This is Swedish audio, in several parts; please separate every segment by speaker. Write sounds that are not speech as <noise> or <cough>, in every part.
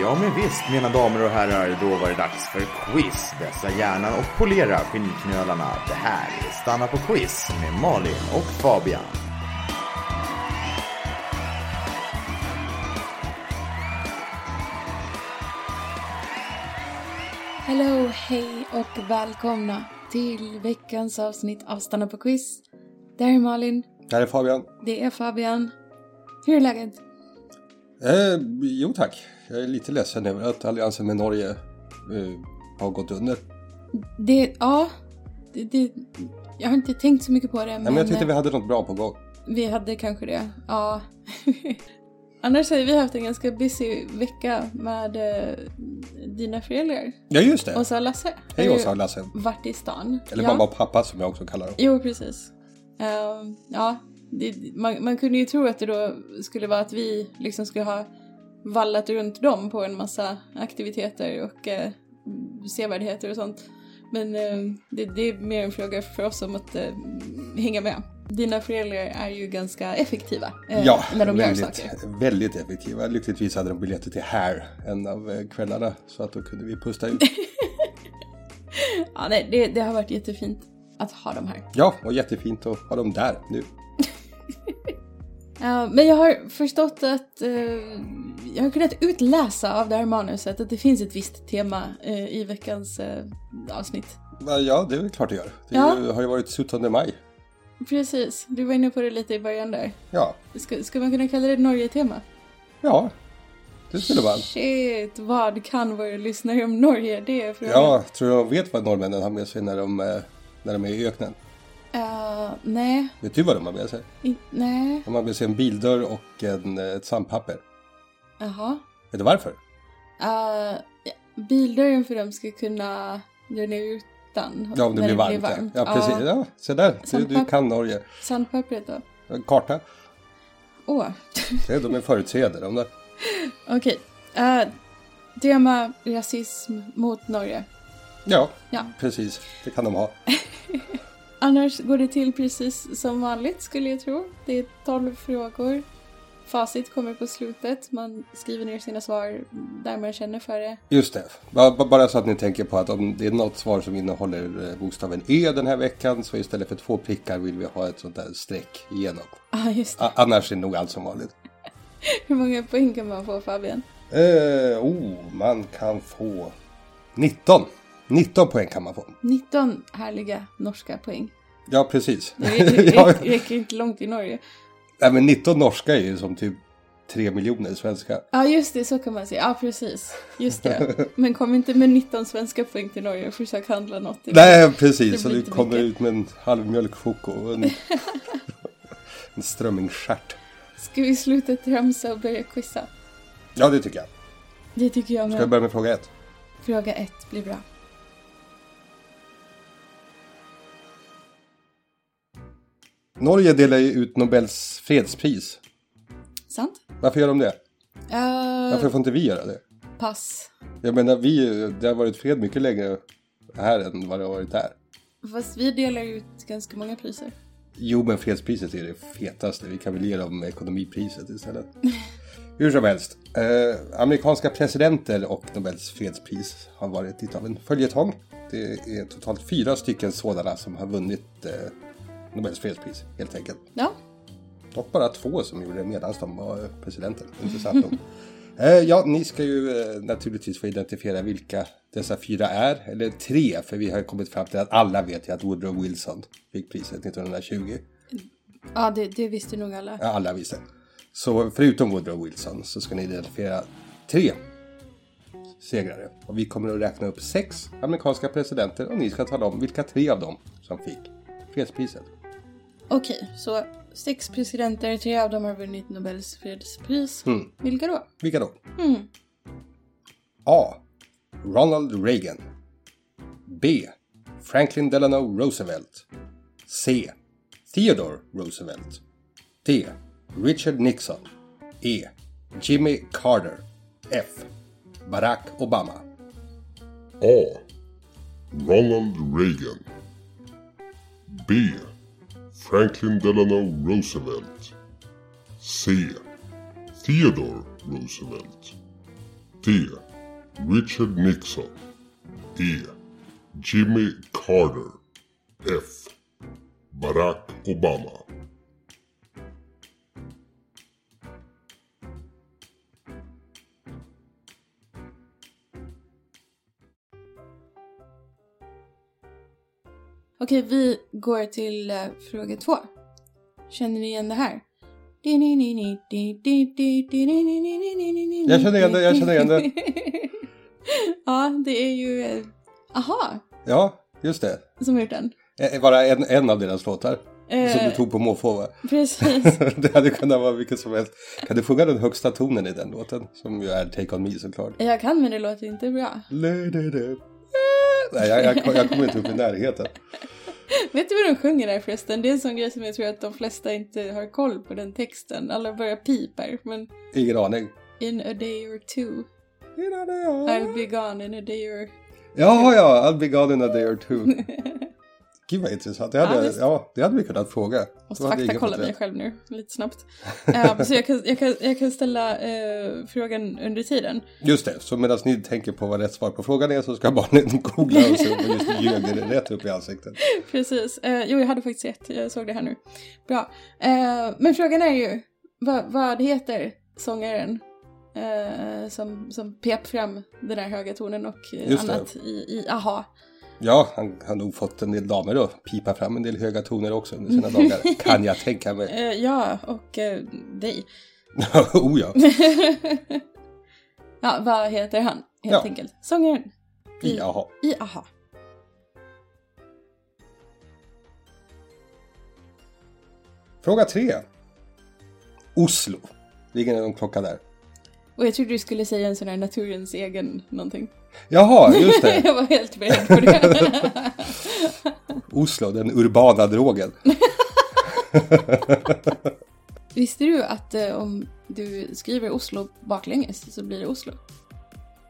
Speaker 1: Ja, men visst, mina damer och herrar, då var det dags för quiz. Vässa hjärnan och polera skinnknölarna. Det här är Stanna på quiz med Malin och Fabian.
Speaker 2: Hello, hej och välkomna till veckans avsnitt av Stanna på quiz. Det här är Malin,
Speaker 3: Det här är Fabian.
Speaker 2: det är Fabian. Hur är läget?
Speaker 3: Eh, jo tack. Jag är lite ledsen över att alliansen med Norge eh, har gått under.
Speaker 2: Det, ja, det, det, jag har inte tänkt så mycket på det, men,
Speaker 3: Nej, men jag tyckte
Speaker 2: eh,
Speaker 3: vi hade något bra på gång.
Speaker 2: vi hade kanske det. Ja. <laughs> Annars har ju vi haft en ganska busy vecka med eh, dina föräldrar.
Speaker 3: Ja just det.
Speaker 2: Åsa och Lasse
Speaker 3: Hej
Speaker 2: har ju
Speaker 3: Åsa och Lasse.
Speaker 2: varit i stan.
Speaker 3: Eller
Speaker 2: Ja.
Speaker 3: mamma och pappa som jag också kallar dem.
Speaker 2: Jo, precis. Ehm, ja, det, man, man kunde ju tro att det då skulle vara att vi liksom skulle ha vallat runt dem på en massa aktiviteter och eh, sevärdheter och sånt. Men eh, det, det är mer en fråga för oss om att eh, hänga med. Dina föräldrar är ju ganska effektiva eh,
Speaker 3: Ja,
Speaker 2: när de gör
Speaker 3: väldigt,
Speaker 2: saker.
Speaker 3: väldigt effektiva. Lyckligtvis hade de biljetter till här en av eh, kvällarna så att då kunde vi pusta
Speaker 2: <laughs>
Speaker 3: ut.
Speaker 2: Ja, nej, det, det har varit jättefint att ha dem här.
Speaker 3: Ja, och jättefint att ha dem där nu.
Speaker 2: Ja, men jag har förstått att... eh, jag har kunnat utläsa av det här manuset att det finns ett visst tema eh, i veckans eh, avsnitt.
Speaker 3: Men Ja, det är väl klart det gör. Det
Speaker 2: Ja.
Speaker 3: är ju- har ju varit 17 maj.
Speaker 2: Precis, du var inne på det lite i början där.
Speaker 3: Ja,
Speaker 2: Ska, ska man kunna kalla det Norge-tema?
Speaker 3: ja. Det skulle man.
Speaker 2: Shit, vad kan våra lyssnare om Norge? Det är frågan.
Speaker 3: Ja, tror jag vet vad norrmännen har med sig när de, eh, när de är i öknen.
Speaker 2: Eh, nej,
Speaker 3: Vet du typ vad de har med sig?
Speaker 2: in, nej,
Speaker 3: De har med sig en bildörr och en, eh, ett sandpapper.
Speaker 2: jaha.
Speaker 3: Vet du varför?
Speaker 2: Uh, bildörren för dem ska kunna dra ner utan.
Speaker 3: Ja, om det
Speaker 2: när
Speaker 3: blir varmt. ja. Ja, precis. Ja, se där. Du, du
Speaker 2: Sandpapper.
Speaker 3: kan Norge.
Speaker 2: Sandpappret då?
Speaker 3: En Karta.
Speaker 2: Åh.
Speaker 3: Se, de är förutseende. De där.
Speaker 2: Okej. eh, tema rasism mot Norge.
Speaker 3: Ja,
Speaker 2: Ja.
Speaker 3: precis. Det kan de ha.
Speaker 2: Annars går det till precis som vanligt skulle jag tro. Det är 12 frågor. Facit kommer på slutet. Man skriver ner sina svar där man känner för det. <laughs>
Speaker 3: Just det. Ba- ba- Bara så att ni tänker på att om det är något svar som innehåller eh, bokstaven Ö den här veckan så istället för två prickar vill vi ha ett sånt där streck igenom.
Speaker 2: Ah, just det.
Speaker 3: A- annars är det nog allt som vanligt.
Speaker 2: Hur många poäng kan man få Fabian?
Speaker 3: Eh, oh, man kan få 19. 19 poäng kan man få.
Speaker 2: 19 härliga norska poäng.
Speaker 3: Ja, precis.
Speaker 2: Det
Speaker 3: <laughs>
Speaker 2: räcker,
Speaker 3: Ja.
Speaker 2: räcker, räcker inte långt i Norge.
Speaker 3: Nej, men 19 norska är ju som typ 3 miljoner svenska.
Speaker 2: Ja, ah, just det, så kan man säga. Ja, ah, precis. Just det. Men kom inte med 19 svenska poäng till Norge och försök handla något. i Norge.
Speaker 3: Nej,
Speaker 2: det
Speaker 3: precis. Så
Speaker 2: blir
Speaker 3: du
Speaker 2: inte
Speaker 3: kommer
Speaker 2: mycket.
Speaker 3: ut med en halv mjölkchoko
Speaker 2: <laughs>
Speaker 3: och en, <laughs> en strömmingsstjärt.
Speaker 2: Ska vi sluta tramsa och börja quizza?
Speaker 3: Ja, det tycker jag.
Speaker 2: Det tycker jag
Speaker 3: Ska vi
Speaker 2: med.
Speaker 3: börja med fråga ett?
Speaker 2: Fråga ett blir bra.
Speaker 3: Norge delar ju ut Nobels fredspris.
Speaker 2: Sant?
Speaker 3: Varför gör de det?
Speaker 2: Eh,
Speaker 3: Varför får inte vi göra det?
Speaker 2: pass.
Speaker 3: Jag menar, vi, det har varit fred mycket längre här än vad det har varit där.
Speaker 2: Fast vi delar ut ganska många priser.
Speaker 3: Jo, men fredspriset är det fetaste. Vi kan väl ge dem ekonomipriset istället. <laughs> Hur som helst. Eh, amerikanska presidenter och Nobels fredspris har varit lite av en följetong. Det är totalt fyra stycken sådana som har vunnit eh, Nobels fredspris, helt enkelt.
Speaker 2: Ja,
Speaker 3: Dock bara två som gjorde det medan de var presidenter. Intressant nog. Eh, ja, ni ska ju eh, naturligtvis få identifiera vilka dessa fyra är. Eller tre, för vi har kommit fram till att alla vet ju att Woodrow Wilson fick priset 1920.
Speaker 2: ja det, det visste nog alla.
Speaker 3: Ja, alla visste. Så förutom Woodrow Wilson så ska ni identifiera tre segrare. Och vi kommer att räkna upp sex amerikanska presidenter och ni ska tala om vilka tre av dem som fick fredspriset.
Speaker 2: Okej, så sex presidenter, tre av dem har vunnit Nobels fredspris.
Speaker 3: Hmm.
Speaker 2: Vilka då?
Speaker 3: Vilka då? A. Ronald Reagan. B. Franklin Delano Roosevelt. C. Theodore Roosevelt. D. Richard Nixon. E. Jimmy Carter. F. Barack Obama.
Speaker 4: A. Ronald Reagan. B. Franklin Delano Roosevelt. C. Theodore Roosevelt. D. Richard Nixon. E. Jimmy Carter. F. Barack Obama.
Speaker 2: Okej, vi går till eh, fråga två. Känner ni igen det här? Jag
Speaker 3: Jag känner igen det, jag känner igen det.
Speaker 2: <laughs> ja, det är ju... eh, Aha,
Speaker 3: Ja, just det.
Speaker 2: som har gjort den.
Speaker 3: Eh, Bara en, en av deras låtar. Som du
Speaker 2: Eh,
Speaker 3: tog på måfå va? <laughs>
Speaker 2: precis.
Speaker 3: det hade kunnat vara vilket som helst. Kan du sjunga den högsta tonen i den låten? Som ju är Take On Me såklart.
Speaker 2: Jag kan, men det låter inte bra.
Speaker 3: Le-de-de. Nej, jag, jag, jag kommer inte upp i närheten.
Speaker 2: Vet du vad de sjunger där förresten? Det är en sån grej som jag tror att de flesta inte har koll på den texten. Alla börjar pipa, men
Speaker 3: Ingen aning.
Speaker 2: in a day or two. I'll be gone in a day or...
Speaker 3: Ja, ja, I'll be gone in a day or two. Gud vad intressant. Det
Speaker 2: Ja,
Speaker 3: hade,
Speaker 2: visst.
Speaker 3: ja, det hade vi kunnat fråga.
Speaker 2: Måste
Speaker 3: Då hade ingen
Speaker 2: faktakolla
Speaker 3: fått
Speaker 2: mig
Speaker 3: rätt.
Speaker 2: själv nu, lite snabbt. Eh, så jag kan, jag kan, jag kan ställa eh, frågan under tiden.
Speaker 3: Just det, så medan ni tänker på vad rätt svar på frågan är så ska barnen <laughs> googla och se om de just ljög det rätt upp i ansiktet.
Speaker 2: Precis. Eh, jo, jag hade faktiskt rätt. Jag såg det här nu. Bra. Eh, men frågan är ju vad, vad heter sångaren eh, som, som pep fram den där höga tonen och eh,
Speaker 3: Just det.
Speaker 2: annat i, i Aha.
Speaker 3: Ja, han han har nog fått en del damer då. Pipa fram en del höga toner också under sina
Speaker 2: <laughs>
Speaker 3: dagar. Kan jag tänka mig. <laughs>
Speaker 2: Eh, ja, och eh, dig. <laughs>
Speaker 3: oh ja.
Speaker 2: ja, vad heter han helt
Speaker 3: Ja.
Speaker 2: enkelt? Sångaren i,
Speaker 3: Jaha.
Speaker 2: i Aha.
Speaker 3: Fråga tre. Oslo. Ligger det någon klocka där?
Speaker 2: Och jag trodde du skulle säga en sån här naturens egen någonting.
Speaker 3: Jaha, just det.
Speaker 2: <laughs> jag var helt beredd på
Speaker 3: <laughs>
Speaker 2: det.
Speaker 3: Oslo, den urbana drogen.
Speaker 2: Visste du att eh, om du skriver Oslo baklänges så blir det Oslo?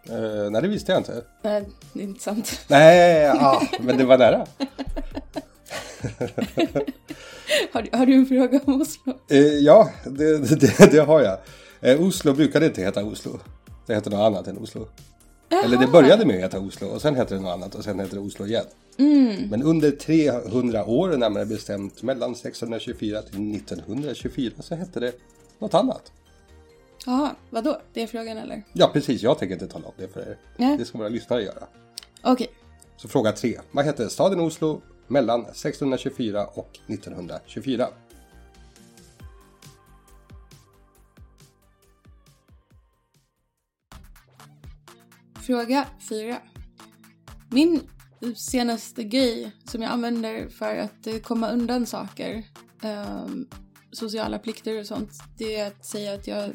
Speaker 3: Eh, nej, det visste jag inte.
Speaker 2: Nej, det är inte sant. <laughs>
Speaker 3: Nej, ah, men det var nära.
Speaker 2: Har, du- har du en fråga om Oslo?
Speaker 3: Eh, ja, det, det, det har jag. Eh, Oslo brukade inte heta Oslo. Det hette något annat än Oslo. Eller det började med att heta Oslo och sen hette det något annat och sen hette det Oslo igen. Men under 300 år, närmare bestämt mellan 624 till 1924, så hette det något annat.
Speaker 2: Jaha, vadå? Det är frågan eller?
Speaker 3: Ja, precis. Jag tänker inte tala om det för er.
Speaker 2: Nej.
Speaker 3: Det ska våra lyssnare göra.
Speaker 2: Okej.
Speaker 3: Så fråga tre. Vad hette staden Oslo mellan 1624 och 1924?
Speaker 2: Fråga fyra. Min senaste grej som jag använder för att eh, komma undan saker, ehm, sociala plikter och sånt, det är att säga att jag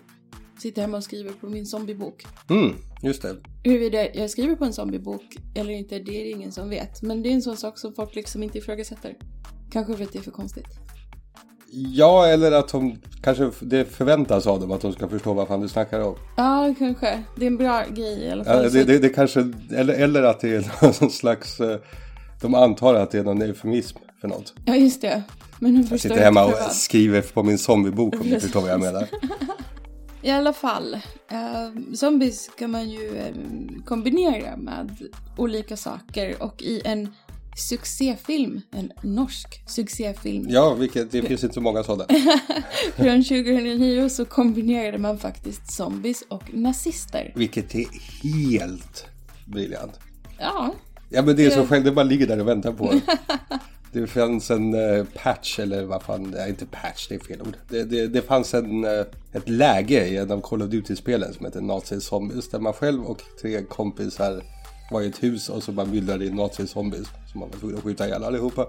Speaker 2: sitter hemma och skriver på min zombiebok.
Speaker 3: Mm, just det.
Speaker 2: Huruvida jag skriver på en zombiebok eller inte, det är det ingen som vet. Men det är en sån sak som folk liksom inte ifrågasätter. Kanske för att det är för konstigt.
Speaker 3: Ja, eller att de kanske det förväntas av dem att de ska förstå vad fan du snackar om.
Speaker 2: Ja, kanske. Det är en bra grej i alla
Speaker 3: Ja,
Speaker 2: fall.
Speaker 3: det, det, det kanske, eller, eller att det är <laughs> någon slags... eh, De antar att det är någon eufemism för något.
Speaker 2: ja just det. Men nu
Speaker 3: Jag
Speaker 2: förstår
Speaker 3: sitter hemma
Speaker 2: inte
Speaker 3: och skriver på min zombiebok om du förstår vad jag menar.
Speaker 2: I alla fall, eh, zombies kan man ju eh, kombinera med olika saker och i en succéfilm, en norsk succéfilm
Speaker 3: Ja, vilket, det finns inte så många sådana.
Speaker 2: från 2009 så kombinerade man faktiskt zombies och nazister.
Speaker 3: Vilket är helt briljant.
Speaker 2: Ja,
Speaker 3: Ja men det är så själv, det bara ligger där och väntar på <laughs> en. Det fanns en eh, patch eller vad fan, nej inte patch, det är fel ord. Det, det, det fanns en, eh, ett läge i en av Call of Duty-spelen som hette Nazi-zombies där man själv och tre kompisar var i ett hus och så bara myllrade in Nazi-zombies som man var tvungen att skjuta ihjäl allihopa.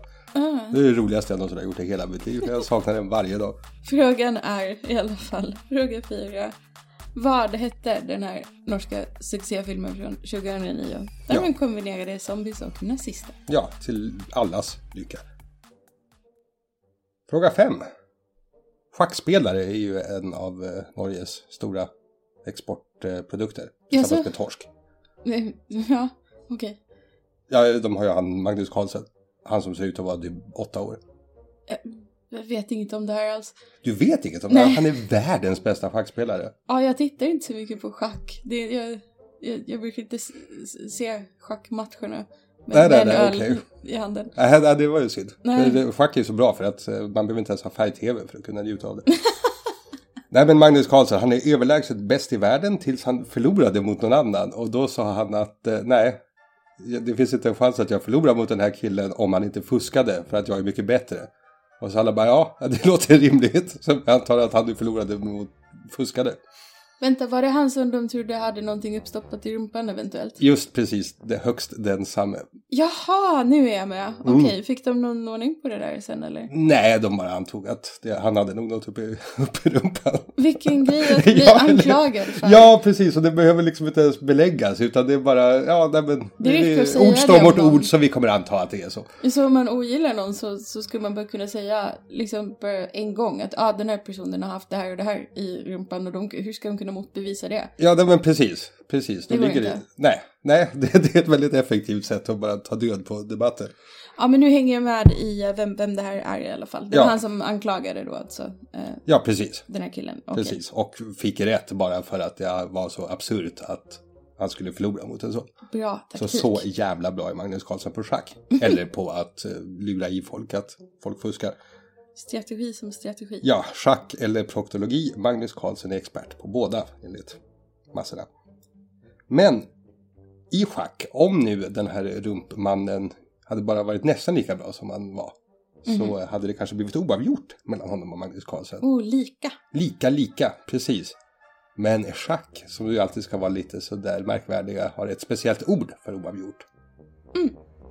Speaker 3: Det är det roligaste jag någonsin har gjort i hela mitt liv. Jag saknar den varje dag.
Speaker 2: Frågan är i alla fall, fråga fyra. Vad hette den här norska succéfilmen från 2009? Där
Speaker 3: Ja.
Speaker 2: man kombinerade zombies och nazister.
Speaker 3: Ja, till allas lycka. Fråga 5. Schackspelare är ju en av eh, Norges stora exportprodukter. Tillsammans
Speaker 2: Jaså?
Speaker 3: med torsk.
Speaker 2: Eh, Ja, okej.
Speaker 3: Ja, de har ju han Magnus Carlsen. Han som ser ut att vara typ åtta år.
Speaker 2: Jag vet inget om det här alls.
Speaker 3: Du vet inget om det?
Speaker 2: Nej.
Speaker 3: Han är världens bästa schackspelare.
Speaker 2: Ja, jag tittar inte så mycket på schack. Det, jag, jag, jag brukar inte s- s- se schackmatcherna med,
Speaker 3: Nej, nej,
Speaker 2: med en
Speaker 3: nej,
Speaker 2: öl
Speaker 3: okej.
Speaker 2: i handen.
Speaker 3: Nej, nej, det var ju synd.
Speaker 2: Nej.
Speaker 3: Men det- Schack är ju så bra för att eh, man behöver inte ens ha färg-tv för att kunna njuta av det. <laughs> Nej men Magnus Carlsson, han är överlägset bäst i världen tills han förlorade mot någon annan. Och då sa han att eh, nej, det finns inte en chans att jag förlorar mot den här killen om han inte fuskade för att jag är mycket bättre. Och så alla bara ja, <laughs> det låter rimligt. Så jag antar att han nu förlorade mot fuskade.
Speaker 2: Vänta, var det han som de trodde hade någonting uppstoppat i rumpan eventuellt?
Speaker 3: Just precis, det högst densamme.
Speaker 2: Jaha, nu är jag med. Okej,
Speaker 3: Mm.
Speaker 2: fick de någon ordning på det där sen eller?
Speaker 3: Nej, de bara antog att det, han hade nog något uppe, i- <laughs> uppe i rumpan.
Speaker 2: Vilken grej
Speaker 3: <laughs>
Speaker 2: att bli
Speaker 3: Ja, eller-
Speaker 2: anklagad för.
Speaker 3: Ja, precis. Och det behöver liksom inte ens beläggas. Utan det är bara, ja, nej, men,
Speaker 2: Det räcker att
Speaker 3: det
Speaker 2: säga
Speaker 3: ord står
Speaker 2: det om
Speaker 3: mot
Speaker 2: någon.
Speaker 3: ord så vi kommer anta att det är så.
Speaker 2: Så om man ogillar någon så, så skulle man bara kunna säga liksom bara en gång att ah, den här personen har haft det här och det här i rumpan och de, hur ska de kunna motbevisa det?
Speaker 3: Ja, nej, men precis. Precis.
Speaker 2: Det går
Speaker 3: ligger
Speaker 2: inte.
Speaker 3: Nej, nej <laughs> det, det är ett väldigt effektivt sätt att bara ta död på debatten.
Speaker 2: Ja men nu hänger jag med i eh, vem, vem det här är i alla fall. Det var
Speaker 3: Ja.
Speaker 2: han som anklagade då alltså, eh,
Speaker 3: Ja, precis.
Speaker 2: den här killen. Okej.
Speaker 3: Precis. Och fick rätt bara för att jag var så absurt att han skulle förlora mot en sån.
Speaker 2: Bra
Speaker 3: Så,
Speaker 2: taktik.
Speaker 3: så jävla bra är Magnus Carlsson
Speaker 2: <laughs>
Speaker 3: på schack. Eller på att eh, lura i folk att folk fuskar.
Speaker 2: Strategi som strategi.
Speaker 3: Ja, schack eller proktologi. Magnus Carlsen är expert på båda enligt massorna. Men i schack, om nu den här rumpmannen hade bara varit nästan lika bra som han var så hade det kanske blivit oavgjort mellan honom och Magnus Carlsen.
Speaker 2: Oh, Olika.
Speaker 3: Lika, lika, precis. Men schack, som ju alltid ska vara lite sådär märkvärdiga, har ett speciellt ord för oavgjort.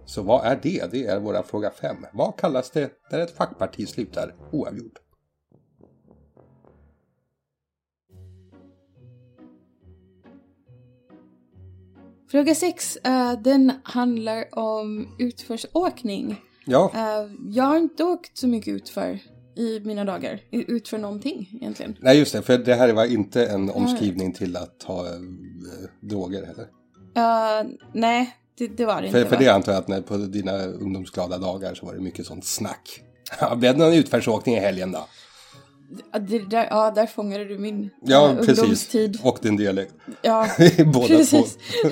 Speaker 3: Så vad är det? Det är våra fråga fem. Vad kallas det när ett schackparti slutar oavgjort?
Speaker 2: Fråga sex, eh, den handlar om utförsåkning.
Speaker 3: Ja,
Speaker 2: Eh, jag har inte åkt så mycket utför i mina dagar. I- Utför någonting egentligen.
Speaker 3: Nej just det, för det här var inte en omskrivning till att ta eh, droger heller.
Speaker 2: Eh, nej, det, det var det
Speaker 3: För,
Speaker 2: inte.
Speaker 3: för
Speaker 2: va?
Speaker 3: det antar jag att när, på dina ungdomsglada dagar så var det mycket sånt snack. Ja, Blev det någon utförsåkning i helgen då?
Speaker 2: Ja, det där, ja, där fångade du min
Speaker 3: Ja,
Speaker 2: eh,
Speaker 3: precis.
Speaker 2: ungdomstid.
Speaker 3: Och din <laughs> dialekt.
Speaker 2: Ja,
Speaker 3: Båda
Speaker 2: precis.
Speaker 3: två.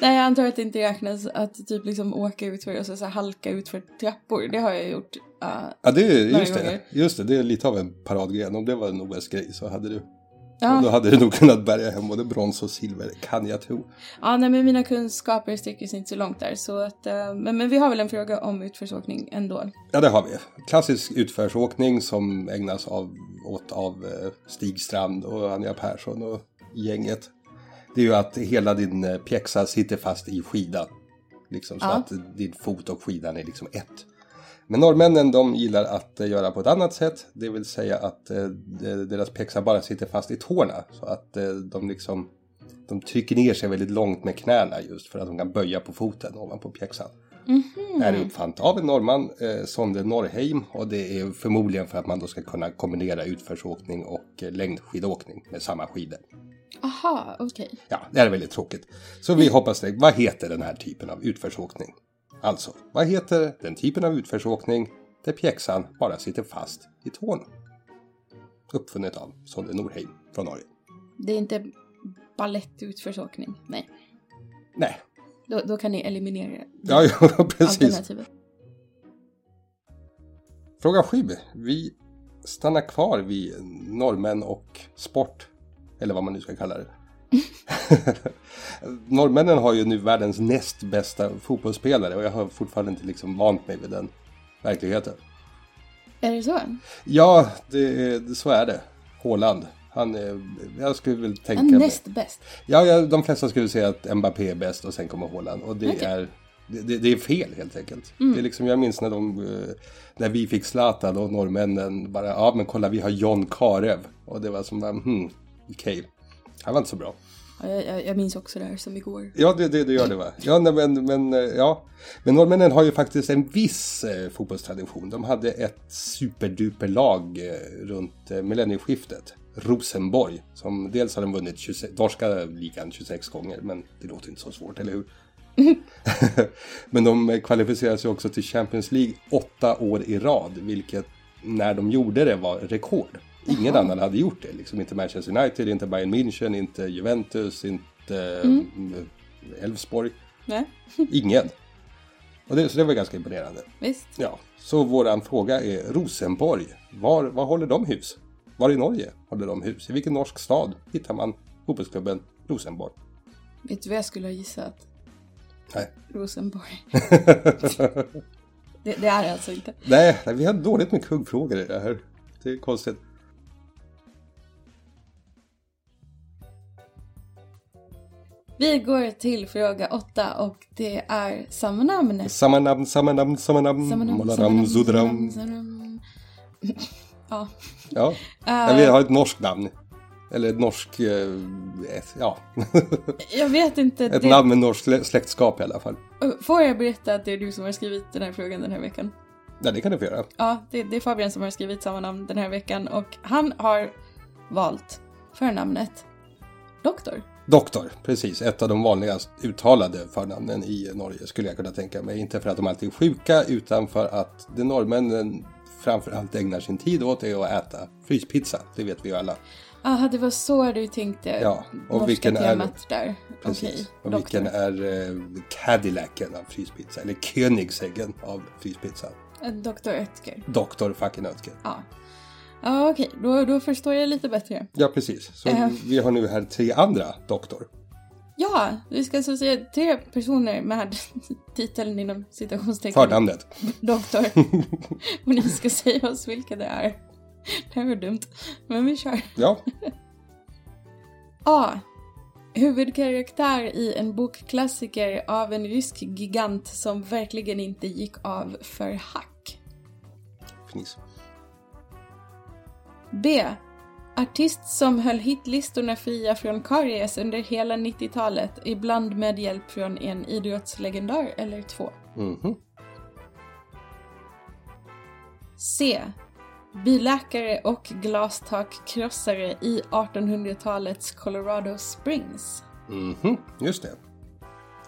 Speaker 2: nej, jag antar att det inte räknas att typ liksom åka utför och så, så här, halka utför trappor. Det har jag gjort. eh,
Speaker 3: Ja, det är,
Speaker 2: Några
Speaker 3: just, det,
Speaker 2: gånger.
Speaker 3: just det. Det är lite av en paradgren. Om det var en OS-grej så hade du,
Speaker 2: ja.
Speaker 3: då hade du nog kunnat bärga hem både brons och silver, kan jag tro.
Speaker 2: Ja, nej, men mina kunskaper sträcker sig inte så långt där. Så att, eh, men, men vi har väl en fråga om utförsåkning ändå.
Speaker 3: Ja, det har vi. Klassisk utförsåkning som ägnas av, åt av eh, Stig Strand och Anja Persson och gänget. Det är ju att hela din eh, pjäxa sitter fast i skidan. Liksom, så
Speaker 2: Ja.
Speaker 3: att din fot och skidan är liksom ett. Men norrmännen de gillar att eh, göra på ett annat sätt. Det vill säga att eh, de- deras pjäxa bara sitter fast i tårna. Så att eh, de liksom de trycker ner sig väldigt långt med knäna just för att de kan böja på foten ovanpå pjäxan är uppfant av en norrman, eh, Sonde Norrheim. Och det är förmodligen för att man då ska kunna kombinera utförsåkning och eh, längdskidåkning med samma skidor.
Speaker 2: Aha, okej.
Speaker 3: Ja, det här är väldigt tråkigt. Så vi hoppas det. Vad heter den här typen av utförsåkning? Alltså, vad heter den typen av utförsåkning där pjäxan bara sitter fast i tån? Uppfunnet av Sonde Norheim från Norge.
Speaker 2: Det är inte balettutförsåkning. Nej,
Speaker 3: Nej,
Speaker 2: då, då kan ni eliminera
Speaker 3: ja, <laughs> ja precis.
Speaker 2: alternativet.
Speaker 3: Fråga 7. Vi stannar kvar vid norrmän och sport. Eller vad man nu ska kalla det. Norrmännen har ju nu världens näst bästa fotbollsspelare och jag har fortfarande inte liksom vant mig vid den verkligheten.
Speaker 2: Är det så?
Speaker 3: Ja, det, är- så är det. Haaland. Han är, jag skulle väl tänka
Speaker 2: En näst bäst.
Speaker 3: Ja, ja, de flesta skulle säga att Mbappé är bäst och sen kommer Haaland. Och det,
Speaker 2: Okej.
Speaker 3: är, det- det, det är fel helt enkelt. Det är liksom, jag minns när, de, eh, när vi fick Zlatan och norrmännen bara, ja men kolla vi har John Karev. Och det var som, bara, hmm, okej. Han var inte så bra.
Speaker 2: Ja, jag, jag, jag minns också det här som igår.
Speaker 3: Ja, det, det, det gör det va? Ja, nej, men, men, eh, ja. men norrmännen har ju faktiskt en viss eh, fotbollstradition. De hade ett superduperlag eh, runt eh, millennieskiftet. Rosenborg, som dels har de vunnit 26, norska ligan 26 gånger, men det låter inte så svårt, eller hur? <laughs> men de eh, kvalificerade sig också till Champions League åtta år i rad, vilket när de gjorde det var rekord. Ingen annan hade gjort det, liksom inte Manchester United, inte Bayern München, inte Juventus, inte mot Elfsborg.
Speaker 2: Nej,
Speaker 3: Ingen. Och det, så det var ganska imponerande.
Speaker 2: visst.
Speaker 3: Ja, så våran fråga är Rosenborg. Var, var håller de hus? Var i Norge håller de hus? I vilken norsk stad hittar man fotbollsklubben Rosenborg?
Speaker 2: Vet du vad jag skulle ha gissat?
Speaker 3: Nej.
Speaker 2: <laughs> Rosenborg. det, det är det alltså inte.
Speaker 3: Nej, nej, vi har dåligt med kuggfrågor i det här. Det är konstigt.
Speaker 2: Vi går till fråga åtta och det är samma namn.
Speaker 3: Samma namn, samma namn, samma namn.
Speaker 2: Samma namn, samma
Speaker 3: Molaram,
Speaker 2: namn, samma
Speaker 3: Zudram.
Speaker 2: namn, samma namn. Ja,
Speaker 3: Ja,
Speaker 2: Eh.
Speaker 3: Nej, vi har ett norskt namn. Eller ett norsk... eh, ett- Ja,
Speaker 2: jag vet inte.
Speaker 3: ett
Speaker 2: det-
Speaker 3: namn med norskt slä- släktskap i alla fall.
Speaker 2: Får jag berätta att det är du som har skrivit den här frågan den här veckan?
Speaker 3: Ja, det kan du få göra.
Speaker 2: Ja, det, det är Fabian som har skrivit samma namn den här veckan och han har valt förnamnet Doktor.
Speaker 3: Doktor, precis. Ett av de vanligast uttalade förnamnen i Norge skulle jag kunna tänka mig. Inte för att de alltid är sjuka utan för att det norrmännen framförallt ägnar sin tid åt är att äta fryspizza. Det vet vi ju alla.
Speaker 2: Aha, det var så du tänkte.
Speaker 3: Ja, och
Speaker 2: Norska
Speaker 3: vilken är-
Speaker 2: temat där.
Speaker 3: Precis.
Speaker 2: Okej,
Speaker 3: Och
Speaker 2: doktor.
Speaker 3: vilken är eh, Cadillacen av fryspizza? Eller Königseggen av fryspizza?
Speaker 2: Eh, Doktor Oetker.
Speaker 3: Doktor fucking Oetker.
Speaker 2: Ja. Ja, okej. Då, då förstår jag lite bättre.
Speaker 3: Ja, precis. Så
Speaker 2: Eh.
Speaker 3: vi har nu här tre andra doktor.
Speaker 2: Ja, vi ska alltså se tre personer med <laughs> titeln inom citationstecken.
Speaker 3: Förnamnet.
Speaker 2: Doktor. och ni ska säga oss vilka det är. Det här var dumt. Men vi kör.
Speaker 3: Ja,
Speaker 2: A. Huvudkaraktär i en bokklassiker av en rysk gigant som verkligen inte gick av för hack.
Speaker 3: fniss.
Speaker 2: B. Artist som höll hitlistorna fria från karies under hela 90-talet, ibland med hjälp från en idrottslegendar eller två.
Speaker 3: Mhm.
Speaker 2: C. Biläkare och glastakkrossare i 1800-talets Colorado Springs.
Speaker 3: Mhm. Just det.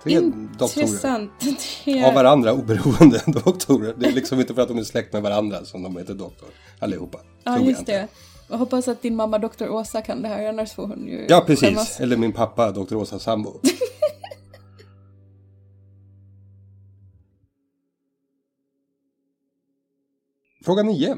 Speaker 3: Tre doktorer.
Speaker 2: Intressant. <laughs> Det
Speaker 3: Av varandra oberoende <laughs> doktorer. Det är liksom inte för att de är släkt med varandra som de heter doktor. Allihopa.
Speaker 2: Ja,
Speaker 3: Tror jag
Speaker 2: just
Speaker 3: inte.
Speaker 2: det. Jag hoppas att din mamma doktor Åsa kan det här, annars får hon ju
Speaker 3: Ja, precis.
Speaker 2: skämmas.
Speaker 3: Eller min pappa, doktor Åsa sambo. Fråga 9.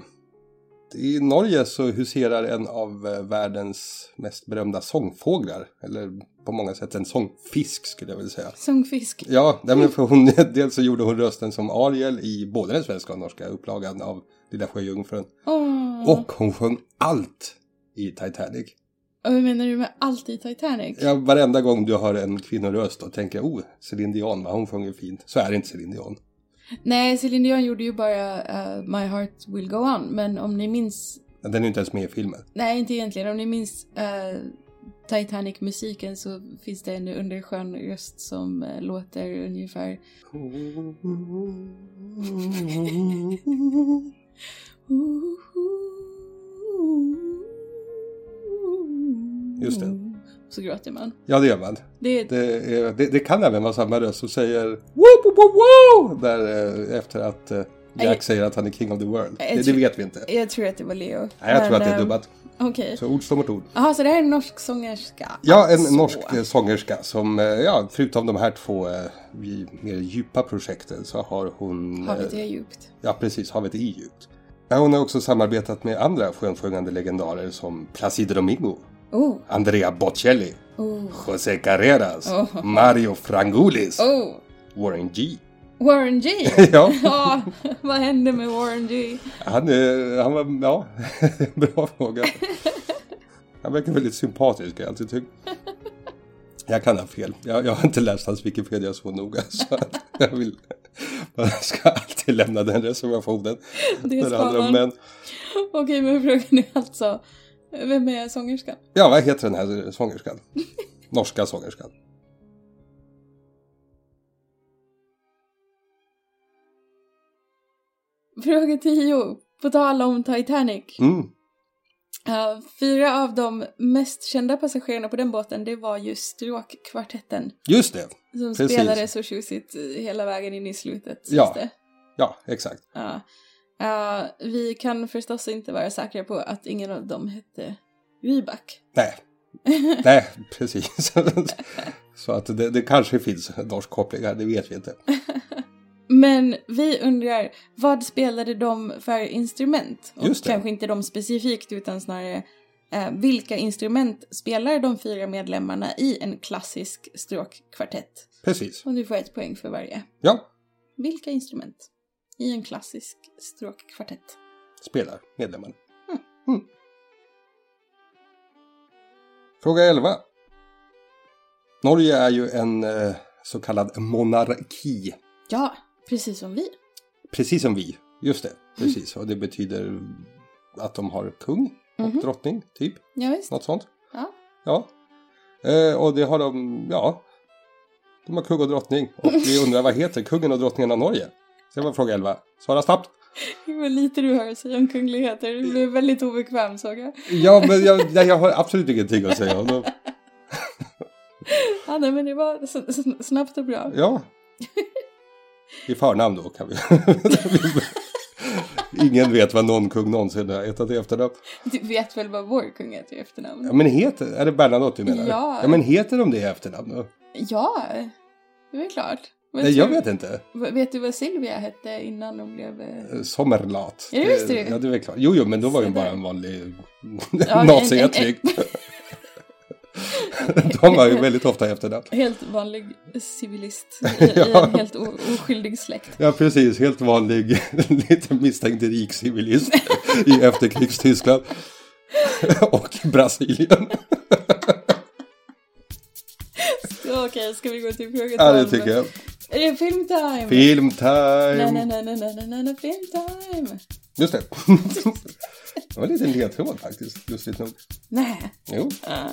Speaker 3: I Norge så huserar en av eh, världens mest berömda sångfåglar. Eller på många sätt en sångfisk skulle jag vilja säga.
Speaker 2: Sångfisk.
Speaker 3: Ja, nej, men för hon, <laughs> dels så gjorde hon rösten som Ariel i både den svenska och norska upplagan av Lilla Sjöjungfrun.
Speaker 2: Mm. Åh.
Speaker 3: Och hon sjöng allt i Titanic.
Speaker 2: Och hur menar du med allt i Titanic?
Speaker 3: Ja, varenda gång du hör en kvinnoröst och tänker oh, Céline Dion, va? hon sjunger fint. Så är det inte Céline Dion.
Speaker 2: Nej, Céline Dion gjorde ju bara eh, My Heart Will Go On, men om ni minns...
Speaker 3: Den är ju inte ens med i filmen.
Speaker 2: Nej, inte egentligen. Om ni minns eh, Titanic-musiken så finns det en underskön röst som eh, låter ungefär...
Speaker 3: Just det.
Speaker 2: Så gråter man.
Speaker 3: Ja, det gör man.
Speaker 2: Det, det...
Speaker 3: Det, är, det, det kan även vara samma röst som säger wow, wow, wow, wow! Där, eh, efter att eh, Jack
Speaker 2: Nej.
Speaker 3: säger att han är king of the world.
Speaker 2: Jag
Speaker 3: Det, det
Speaker 2: tror-
Speaker 3: vet vi inte.
Speaker 2: Jag tror att det var Leo.
Speaker 3: Nej, jag tror att det är
Speaker 2: ehm,
Speaker 3: dubbat.
Speaker 2: Okej.
Speaker 3: Så ord står mot ord.
Speaker 2: Jaha, så det här är en norsk sångerska?
Speaker 3: Ja, en
Speaker 2: alltså.
Speaker 3: norsk eh, sångerska som, eh, ja, förutom de här två eh, dju- mer djupa projekten så har hon...
Speaker 2: Har vi
Speaker 3: eh,
Speaker 2: det djupt?
Speaker 3: Ja, precis. Havet är djupt. Men hon har också samarbetat med andra skönsjungande legendarer som Placido Domingo,
Speaker 2: Oh,
Speaker 3: Andrea Bocelli,
Speaker 2: oh,
Speaker 3: José Carreras,
Speaker 2: Oh.
Speaker 3: Mario Frangulis,
Speaker 2: oh!
Speaker 3: Warren G. <laughs>
Speaker 2: Warren G! <laughs>
Speaker 3: Ja,
Speaker 2: Ja, vad hände med Warren G?
Speaker 3: han, eh, han var... Ja, <laughs> bra fråga. Han verkar väldigt sympatisk, har jag alltid tyckt. Jag kan ha fel. Jag, jag har inte läst hans Wikipedia så noga. <laughs> Så att jag vill... <laughs> Man ska alltid lämna den reservationen.
Speaker 2: Det
Speaker 3: när det handlar
Speaker 2: ska man.
Speaker 3: om män.
Speaker 2: Okej, men frågan är alltså, vem är sångerskan?
Speaker 3: Ja, vad heter den här sångerskan? Norska sångerskan.
Speaker 2: Fråga 10. På tal om Titanic.
Speaker 3: Mm.
Speaker 2: Eh, fyra av de mest kända passagerarna på den båten, det var ju Stråkkvartetten.
Speaker 3: Just det.
Speaker 2: Som
Speaker 3: Precis.
Speaker 2: spelade så tjusigt eh, hela vägen in i slutet.
Speaker 3: Ja.
Speaker 2: just det.
Speaker 3: Ja, exakt.
Speaker 2: Ja. Eh, vi kan förstås inte vara säkra på att ingen av dem hette Ryback.
Speaker 3: Nej, Nej, precis. <laughs> Så att det, det kanske finns norsk koppling här, det vet vi inte.
Speaker 2: Men vi undrar, vad spelade de för instrument? Och
Speaker 3: Just det.
Speaker 2: kanske inte de specifikt, utan snarare eh, vilka instrument spelar de fyra medlemmarna i en klassisk stråkkvartett?
Speaker 3: Precis.
Speaker 2: Och du får ett poäng för varje.
Speaker 3: Ja,
Speaker 2: Vilka instrument i en klassisk stråkkvartett?
Speaker 3: spelar medlemmen. Mm. Fråga 11. Norge är ju en eh, så kallad monarki.
Speaker 2: Ja, precis som vi.
Speaker 3: Precis som vi. Just det, precis. Och det betyder att de har kung och
Speaker 2: Mhm.
Speaker 3: drottning, typ.
Speaker 2: Ja, visst.
Speaker 3: Något sånt.
Speaker 2: Ja.
Speaker 3: Ja. Eh, och det har de, ja. De har kung och drottning.
Speaker 2: <laughs>
Speaker 3: Och vi undrar vad heter kungen och drottningen av Norge? Det var fråga 11. Svara snabbt.
Speaker 2: Vad lite du har att säga om kungligheter. Du blev väldigt obekväm såg jag. <laughs>
Speaker 3: Ja, men jag, nej, jag har absolut ingenting att säga. om dem.
Speaker 2: Ja, nej, men det var s- s- snabbt och bra.
Speaker 3: Ja. I förnamn då kan vi. <laughs> Ingen vet vad någon kung någonsin har hetat i efternamn.
Speaker 2: Du vet väl vad vår kung heter i efternamn?
Speaker 3: Ja, men heter, är det Bernadotte du menar?
Speaker 2: Ja.
Speaker 3: ja men heter de det i efternamn då?
Speaker 2: Ja, det är väl klart. Men
Speaker 3: Nej,
Speaker 2: tror-
Speaker 3: jag vet inte.
Speaker 2: V- Vet du vad Silvia hette innan hon blev... eh,
Speaker 3: Sommerlat.
Speaker 2: Ja, just det.
Speaker 3: Ja, det är väl klart. Jo, jo, men då var ju
Speaker 2: Se
Speaker 3: bara
Speaker 2: där.
Speaker 3: en vanlig <laughs>
Speaker 2: en-
Speaker 3: nazi
Speaker 2: en- <laughs>
Speaker 3: jag tyckte. De har ju väldigt ofta efternamn.
Speaker 2: Helt vanlig
Speaker 3: <laughs>
Speaker 2: civilist i, i
Speaker 3: Ja.
Speaker 2: en helt o- oskyldig släkt.
Speaker 3: Ja, precis. Helt vanlig, <laughs> lite misstänkt rik civilist i efterkrigstyskland. <laughs> Och Brasilien.
Speaker 2: Så, Okej, ska vi gå till fråga
Speaker 3: Ja, det
Speaker 2: tolv?
Speaker 3: tycker jag.
Speaker 2: Är det filmtime? Nej, nej,
Speaker 3: Filmtime!
Speaker 2: nej, nej, nej, nej, nej, nej, filmtime!
Speaker 3: Just det. <laughs> Det var en liten ledtråd faktiskt, lustigt nog.
Speaker 2: Nej.
Speaker 3: Jo,
Speaker 2: Ah.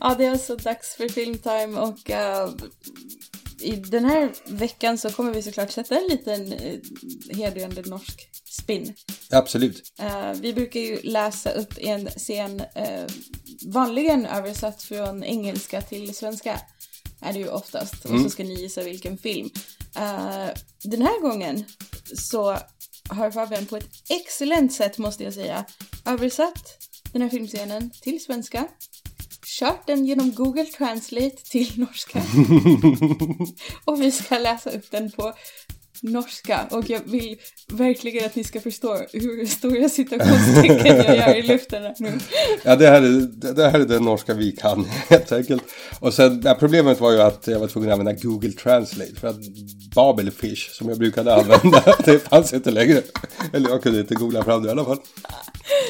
Speaker 2: ja, det är alltså dags för filmtime och eh, i den här veckan så kommer vi såklart sätta en liten eh, hedrande norsk spinn.
Speaker 3: absolut.
Speaker 2: Eh, vi brukar ju läsa upp en scen, eh, vanligen översatt från engelska till svenska. Är det ju oftast. Och så ska ni gissa vilken film. Eh, den här gången så har Fabian på ett excellent sätt, måste jag säga, översatt den här filmscenen till svenska. Kört den genom Google Translate till norska. Och vi ska läsa upp den på norska och jag vill verkligen att ni ska förstå hur stora citationstecken jag gör i luften här nu.
Speaker 3: Ja, det här, är, det- det här är den norska vi kan <laughs> helt enkelt. Och sen, ja, problemet var ju att jag var tvungen att använda Google Translate för att Babelfish som jag brukade <laughs> använda, det fanns inte längre. Eller jag kunde inte googla fram det i alla fall.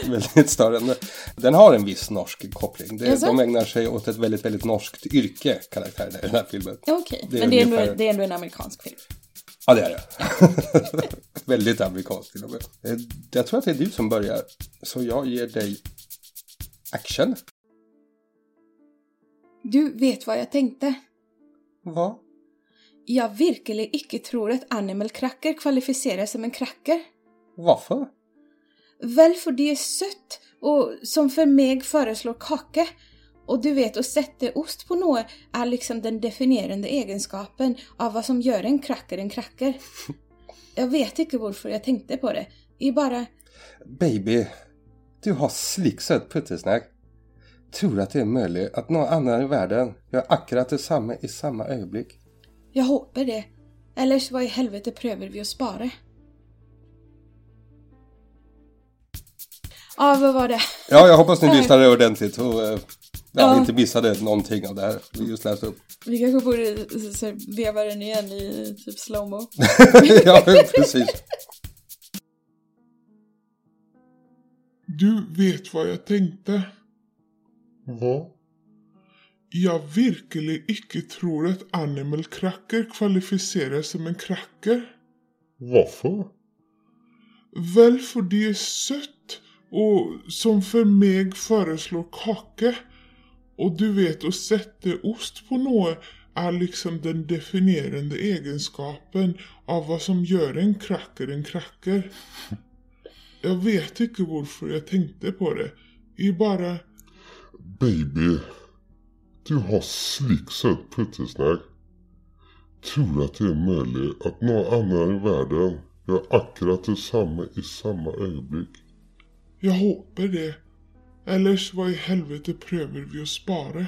Speaker 3: Väldigt störande. Den har en viss norsk koppling. Det,
Speaker 2: Jaså?
Speaker 3: de ägnar sig åt ett väldigt, väldigt norskt yrke, karaktärerna i den här filmen.
Speaker 2: Okej,
Speaker 3: Det är
Speaker 2: men det är, ändå,
Speaker 3: ungefär-
Speaker 2: det är ändå en amerikansk film.
Speaker 3: Ja, det är det. <laughs> Väldigt amerikanskt till och med. Eh, Jag tror att det är du som börjar. Så jag ger dig action.
Speaker 2: Du vet vad jag tänkte?
Speaker 3: Vad?
Speaker 2: Jag virkelig icke tror att Animal Cracker kvalificerar som en cracker.
Speaker 3: Varför?
Speaker 2: Väl för det är sött och som för mig föreslår kake. Och du vet, att sätta ost på något är liksom den definierande egenskapen av vad som gör en kracker en
Speaker 3: <laughs>
Speaker 2: kracker. Jag vet inte varför jag tänkte på det. Det är bara...
Speaker 3: Baby, du har slicksat puttesnack. Tror att det är möjligt att någon annan i världen gör akkurat detsamma i samma ögonblick?
Speaker 2: Jag hoppas det. Ellers vad i helvete prövar vi att spara? Ja, vad var det?
Speaker 3: Ja, jag hoppas ni lyssnade ordentligt och eh, ja,
Speaker 2: Ja.
Speaker 3: inte missade någonting av det här vi just
Speaker 2: <laughs>
Speaker 3: läste upp. <laughs>
Speaker 2: Vi kanske borde så- så här, veva den igen i typ slowmo.
Speaker 3: ja, precis.
Speaker 4: Du vet vad jag tänkte. Vad? Jag virkelig icke tror att Animal Cracker kvalificerar som en cracker. Varför? Väl för det är sött och som för mig föreslår kake. Och du vet att sätta ost på något är liksom den definierande egenskapen av vad som gör en cracker en cracker. Jag vet inte varför jag tänkte på det. Det är bara...
Speaker 5: Baby, du har slicksat puttesnack. Tror att det är möjligt att någon annan i världen gör akkurat detsamma i samma ögonblick.
Speaker 4: Jag hoppas det. Ellers hva i helvete prøver vi å spare?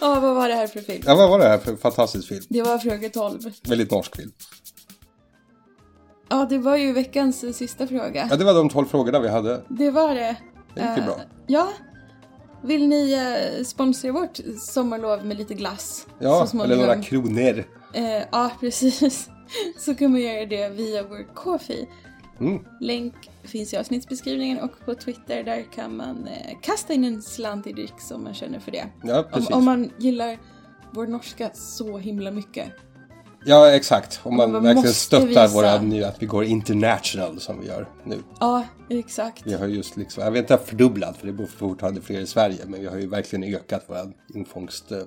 Speaker 2: Ja, vad var det här för film?
Speaker 3: Ja, vad var det här för fantastisk film?
Speaker 2: Det var fråga 12.
Speaker 3: Väldigt norsk film.
Speaker 2: Ja, det var ju veckans eh, sista fråga.
Speaker 3: Ja, det var de tolv frågorna vi hade.
Speaker 2: Det var det.
Speaker 3: Det gick ju
Speaker 2: Eh,
Speaker 3: bra.
Speaker 2: Ja. Vill ni eh, sponsra vårt sommarlov med lite glass?
Speaker 3: Ja,
Speaker 2: så småningom?
Speaker 3: eller några kronor.
Speaker 2: Eh, ja, <laughs> precis. Så kan man göra det via vår Ko-fi.
Speaker 3: Mm.
Speaker 2: Länk finns i avsnittsbeskrivningen och på Twitter. Där kan man eh, kasta in en slant i dricks om man känner för det.
Speaker 3: Ja,
Speaker 2: Om,
Speaker 3: precis.
Speaker 2: om man gillar vår norska så himla mycket.
Speaker 3: Ja, exakt. Om man,
Speaker 2: man
Speaker 3: verkligen
Speaker 2: måste
Speaker 3: stöttar
Speaker 2: visa.
Speaker 3: våra nya, att vi går international som vi gör nu.
Speaker 2: Ja, exakt.
Speaker 3: Vi har just liksom, jag vet inte fördubblat för det bor fortfarande fler i Sverige, men vi har ju verkligen ökat våra infångst. eh,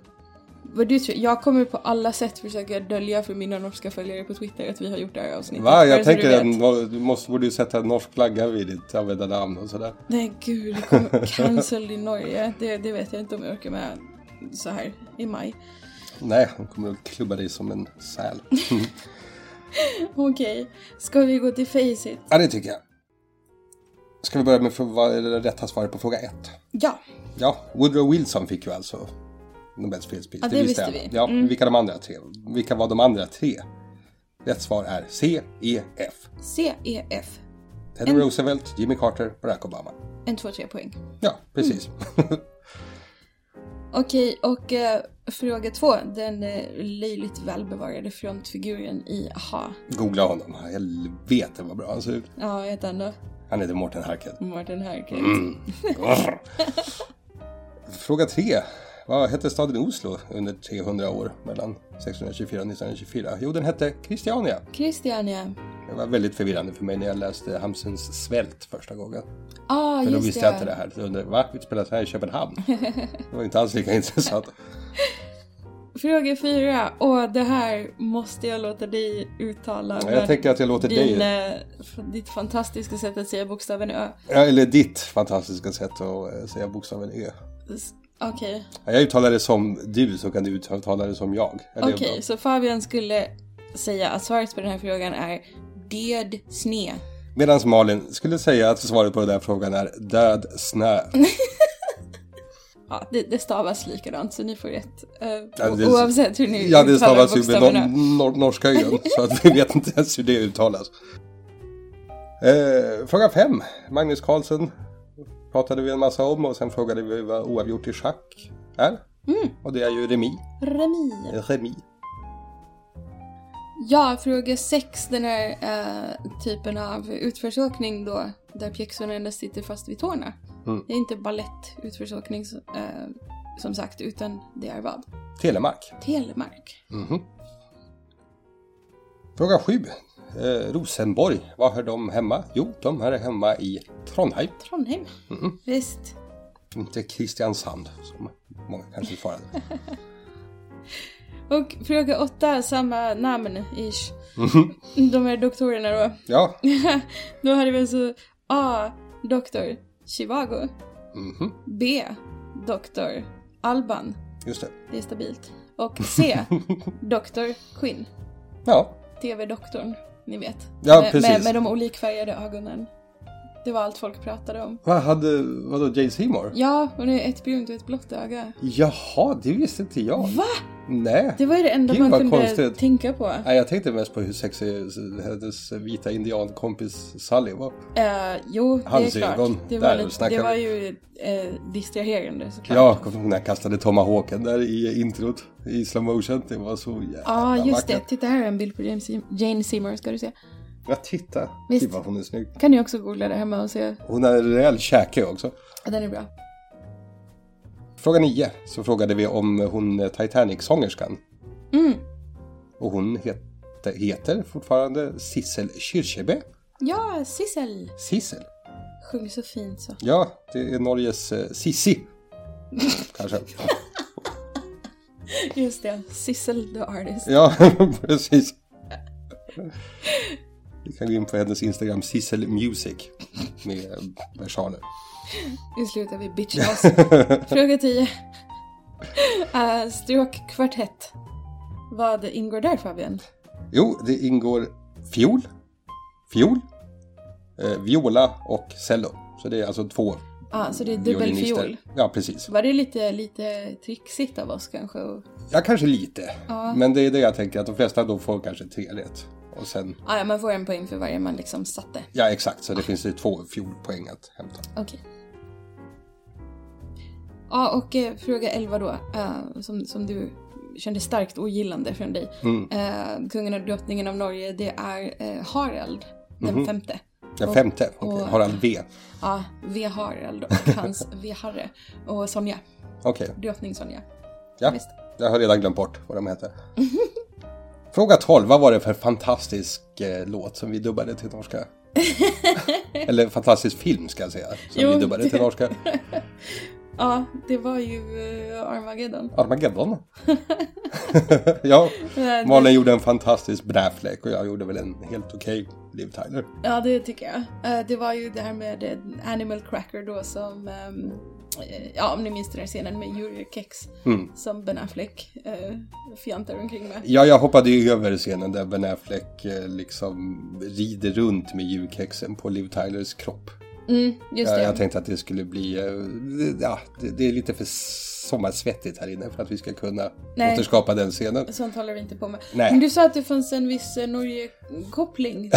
Speaker 2: Vad du tror, jag kommer på alla sätt försöka dölja för mina norska följare på Twitter att vi har gjort det här avsnittet.
Speaker 3: Va?
Speaker 2: Bara
Speaker 3: Jag
Speaker 2: så du
Speaker 3: tänker att
Speaker 2: vet.
Speaker 3: no- du måste, borde ju sätta en norsk flagga vid ditt användarnamn och sådär.
Speaker 2: Nej gud, det kommer cancel i Norge. Det, det vet jag inte om jag orkar med så här i maj.
Speaker 3: Nej, hon kommer att klubba dig som en säl.
Speaker 2: Okej, ska vi gå till Faceit?
Speaker 3: ja, det tycker jag. Ska vi börja med för, vad, eller rätta svaret på fråga ett?
Speaker 2: Ja,
Speaker 3: Ja, Woodrow Wilson fick ju alltså Nobels fredspris.
Speaker 2: Ja, det visste
Speaker 3: jag.
Speaker 2: vi. Mm.
Speaker 3: Ja, vilka, de andra tre? vilka var de andra tre? Rätt svar är C, E, F.
Speaker 2: CEF.
Speaker 3: Teddy Roosevelt, Jimmy Carter, Barack Obama.
Speaker 2: En, två, tre poäng.
Speaker 3: Ja, precis. <laughs>
Speaker 2: Okej, och eh, fråga två. Den eh, löjligt välbevarade frontfiguren i Aha.
Speaker 3: Googla honom. Helvete vad bra han ser ut.
Speaker 2: Ja, vad heter han då?
Speaker 3: Han heter Morten Harket.
Speaker 2: Martin Herkens.
Speaker 3: Mm. Grr. Fråga tre. Vad hette staden Oslo under 300 år mellan 1624 och 1924? Jo, den hette Christiania.
Speaker 2: Christiania.
Speaker 3: Det var väldigt förvirrande för mig när jag läste Hamsuns svält första gången.
Speaker 2: Ah,
Speaker 3: Men då
Speaker 2: just
Speaker 3: visste jag inte det här. Så jag undrade, va? Utspelas det här i Köpenhamn? Det var inte alls lika intressant.
Speaker 2: Fråga fyra. Och det här måste jag låta dig uttala.
Speaker 3: Men Jag
Speaker 2: med
Speaker 3: tänker att jag låter
Speaker 2: din,
Speaker 3: dig,
Speaker 2: eh, f- ditt fantastiska sätt att säga bokstaven Ö.
Speaker 3: Ja, eller ditt fantastiska sätt att eh, säga bokstaven Ö.
Speaker 2: S- Okej,
Speaker 3: Ja, Jag uttalar det som du så kan du uttala det som jag. Ja, det är
Speaker 2: okej.
Speaker 3: bra.
Speaker 2: Så Fabian skulle säga att svaret på den här frågan är död sne.
Speaker 3: Medan Malin skulle säga att svaret på den där frågan är död
Speaker 2: <laughs>
Speaker 3: snö.
Speaker 2: Ja, det, det stavas likadant så ni får rätt. Eh,
Speaker 3: Ja, det-
Speaker 2: oavsett hur ni
Speaker 3: Ja, det
Speaker 2: uttalar
Speaker 3: stavas ju med
Speaker 2: bokstaven Ö.
Speaker 3: nor- nor- norska ön, så att vi vet inte ens hur det uttalas. Eh, fråga 5. Magnus Carlsen pratade vi en massa om och sen frågade vi vad oavgjort i schack är.
Speaker 2: Mm.
Speaker 3: Och det är ju remi.
Speaker 2: Remi.
Speaker 3: Remi.
Speaker 2: Ja, fråga sex, den här eh, typen av utförsåkning då, där pjäxorna endast sitter fast vid tårna.
Speaker 3: Mm.
Speaker 2: Det är inte balettutförsåkning så- eh, som sagt, utan det är vad?
Speaker 3: Telemark.
Speaker 2: Telemark.
Speaker 3: Mhm. Fråga 7. Eh, Rosenborg. Var hör de hemma? Jo, de hör hemma i Trondheim.
Speaker 2: Trondheim.
Speaker 3: Mhm.
Speaker 2: Visst.
Speaker 3: Inte Kristiansand, som många kanske svarade.
Speaker 2: Och fråga åtta, samma namn, ish.
Speaker 3: Mhm.
Speaker 2: De här doktorerna då. <laughs>
Speaker 3: Ja.
Speaker 2: Då hade vi alltså A. Doktor Chivago.
Speaker 3: Mhm.
Speaker 2: B. Doktor Alban.
Speaker 3: Just det.
Speaker 2: Det är stabilt. Och
Speaker 3: <laughs>
Speaker 2: C. Doktor Quinn.
Speaker 3: Ja,
Speaker 2: TV-doktorn, ni vet.
Speaker 3: Ja,
Speaker 2: med,
Speaker 3: precis.
Speaker 2: Med, med de olikfärgade ögonen. Det var allt folk pratade om.
Speaker 3: Vad hade, vadå, Jay Seymour?
Speaker 2: Ja, hon är ett brunt och ett blått öga.
Speaker 3: Jaha, det visste inte jag.
Speaker 2: Va?
Speaker 3: Nej.
Speaker 2: Det var ju det enda
Speaker 3: Gud,
Speaker 2: man
Speaker 3: vad
Speaker 2: kunde
Speaker 3: konstigt.
Speaker 2: tänka på.
Speaker 3: Nej, jag tänkte mest på hur sexig hennes vita indiankompis Sally var.
Speaker 2: Eh, jo, det är
Speaker 3: Hans
Speaker 2: klart.
Speaker 3: ögon,
Speaker 2: det
Speaker 3: där
Speaker 2: var,
Speaker 3: snackar
Speaker 2: det var
Speaker 3: vi.
Speaker 2: ju eh, distraherande såklart.
Speaker 3: Ja, kommer du ihåg när jag kastade tomahawken där i introt? I slow motion. Det var så jävla
Speaker 2: Ja, just det.
Speaker 3: vackert.
Speaker 2: Titta här är en bild på James, Jane Seymour ska du se.
Speaker 3: Ja, titta.
Speaker 2: Visst.
Speaker 3: Gud vad hon är snygg.
Speaker 2: Kan ni också googla det hemma och se.
Speaker 3: Hon har en rejäl käke också.
Speaker 2: Ja, Den är bra.
Speaker 3: Fråga nio så frågade vi om hon Titanic-sångerskan.
Speaker 2: Mm.
Speaker 3: Och hon hette, heter fortfarande Sissel Kyrkjebø.
Speaker 2: Ja, Sissel.
Speaker 3: Sissel.
Speaker 2: Sjung så fint så.
Speaker 3: Ja, det är Norges eh, Sissi. Kanske.
Speaker 2: <laughs> Just det. Sissel the artist.
Speaker 3: Ja, <laughs> precis. Vi kan gå in på hennes Instagram, Sissel Music. Med eh, versaler.
Speaker 2: Nu slutar vi
Speaker 3: <laughs>
Speaker 2: bitchas. Fråga 10. <laughs> Eh, Stråkkvartett. Vad ingår där Fabian?
Speaker 3: Jo, det ingår fiol, fiol, eh, viola och cello. Så det är alltså två
Speaker 2: Ah, så det är dubbelfiol.
Speaker 3: Ja, precis.
Speaker 2: Var det lite, lite trixigt av oss kanske? Och,
Speaker 3: Ja, kanske lite.
Speaker 2: Ja.
Speaker 3: Men det är det jag tänker att de flesta då får kanske tre rätt. Och sen,
Speaker 2: ah, ja, man får en poäng för varje man liksom satte.
Speaker 3: ja exakt, så det finns ju två fjolpoäng att hämta.
Speaker 2: Okej. Ja, och eh, fråga 11 då, eh, som, som du kände starkt ogillande från dig. Eh, kungen och drottningen av Norge, det är eh, Harald den femte.
Speaker 3: Den
Speaker 2: Och-
Speaker 3: femte, okej.
Speaker 2: och-
Speaker 3: Harald V.
Speaker 2: Ja, V. Harald och hans V. Harre och Sonja,
Speaker 3: Okej,
Speaker 2: drottning Sonja.
Speaker 3: ja.
Speaker 2: Visst.
Speaker 3: Jag har redan glömt bort vad de heter. <laughs> Fråga 12, vad var det för fantastisk eh, låt som vi dubbade till
Speaker 2: <laughs>
Speaker 3: norska? Eller fantastisk film ska jag säga, som
Speaker 2: Jo,
Speaker 3: vi dubbade till
Speaker 2: det- <laughs>
Speaker 3: norska.
Speaker 2: Ja, det var ju eh, Armageddon. <laughs>
Speaker 3: Armageddon. <laughs> ja,
Speaker 2: Eh, det-
Speaker 3: Malin gjorde en fantastisk bräfläck och jag gjorde väl en helt okej Liv Tyler.
Speaker 2: Ja, det tycker jag. Eh, Det var ju det här med eh, Animal Cracker då som, ehm, eh, ja om ni minns den här scenen med Jurykex
Speaker 3: Mm.
Speaker 2: som Ben Affleck eh, fjantar omkring med.
Speaker 3: Ja, jag hoppade ju över scenen där Ben Affleck eh, liksom rider runt med julkexen på Liv Tylers kropp.
Speaker 2: Mm, just
Speaker 3: Jag,
Speaker 2: det.
Speaker 3: jag tänkte att det skulle bli, eh, det- ja, det, det är lite för sommarsvettigt här inne för att vi ska kunna
Speaker 2: Nej.
Speaker 3: återskapa den scenen.
Speaker 2: Sånt håller vi inte på med.
Speaker 3: Nej.
Speaker 2: Men du sa att det fanns en viss eh,
Speaker 3: <laughs>
Speaker 2: Norge-koppling i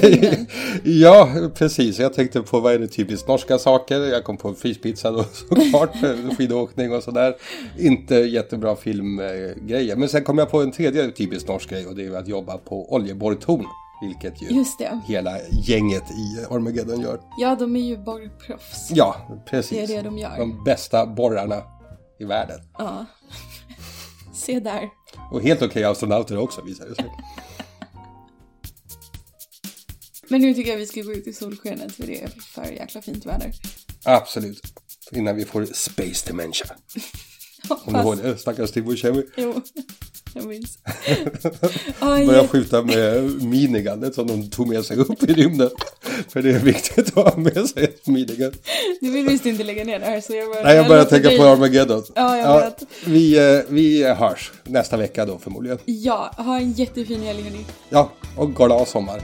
Speaker 2: filmen.
Speaker 3: ja, precis. Jag tänkte på vad är det typiskt norska saker? Jag kom på fryspizza då <laughs> såklart, skidåkning och sådär. Inte jättebra filmgrejer. Men sen kom jag på en tredje typisk norsk grej och det är att jobba på oljeborrtorn. Vilket ju
Speaker 2: Just det.
Speaker 3: hela gänget i Armageddon gör.
Speaker 2: Ja, de är ju borrproffs.
Speaker 3: Ja, precis.
Speaker 2: Det är det de gör.
Speaker 3: De bästa borrarna i världen.
Speaker 2: Ja. Se där.
Speaker 3: Och helt okej astronauter också visar det sig.
Speaker 2: Men nu tycker jag vi ska gå ut i solskenet för det är för jäkla fint väder.
Speaker 3: Absolut. Innan vi får space dementia. Om du
Speaker 2: Hoppas.
Speaker 3: ihåg det, stackars Steve Buscemi.
Speaker 2: Jo, <laughs> jag
Speaker 3: <laughs>
Speaker 2: minns. Aj. <laughs>
Speaker 3: Började skjuta med minigunnet som de tog med sig upp i rymden. För det är viktigt att ha med sig ett minigun.
Speaker 2: Du vill visst inte lägga ner det här så jag börjar...
Speaker 3: Nej, jag börjar
Speaker 2: låter
Speaker 3: tänka
Speaker 2: dig-
Speaker 3: på Armageddon.
Speaker 2: Ja, jag vet.
Speaker 3: vi, eh, vi hörs nästa vecka då förmodligen.
Speaker 2: Ja, ha en jättefin helg hörni.
Speaker 3: Ja, och glad sommar.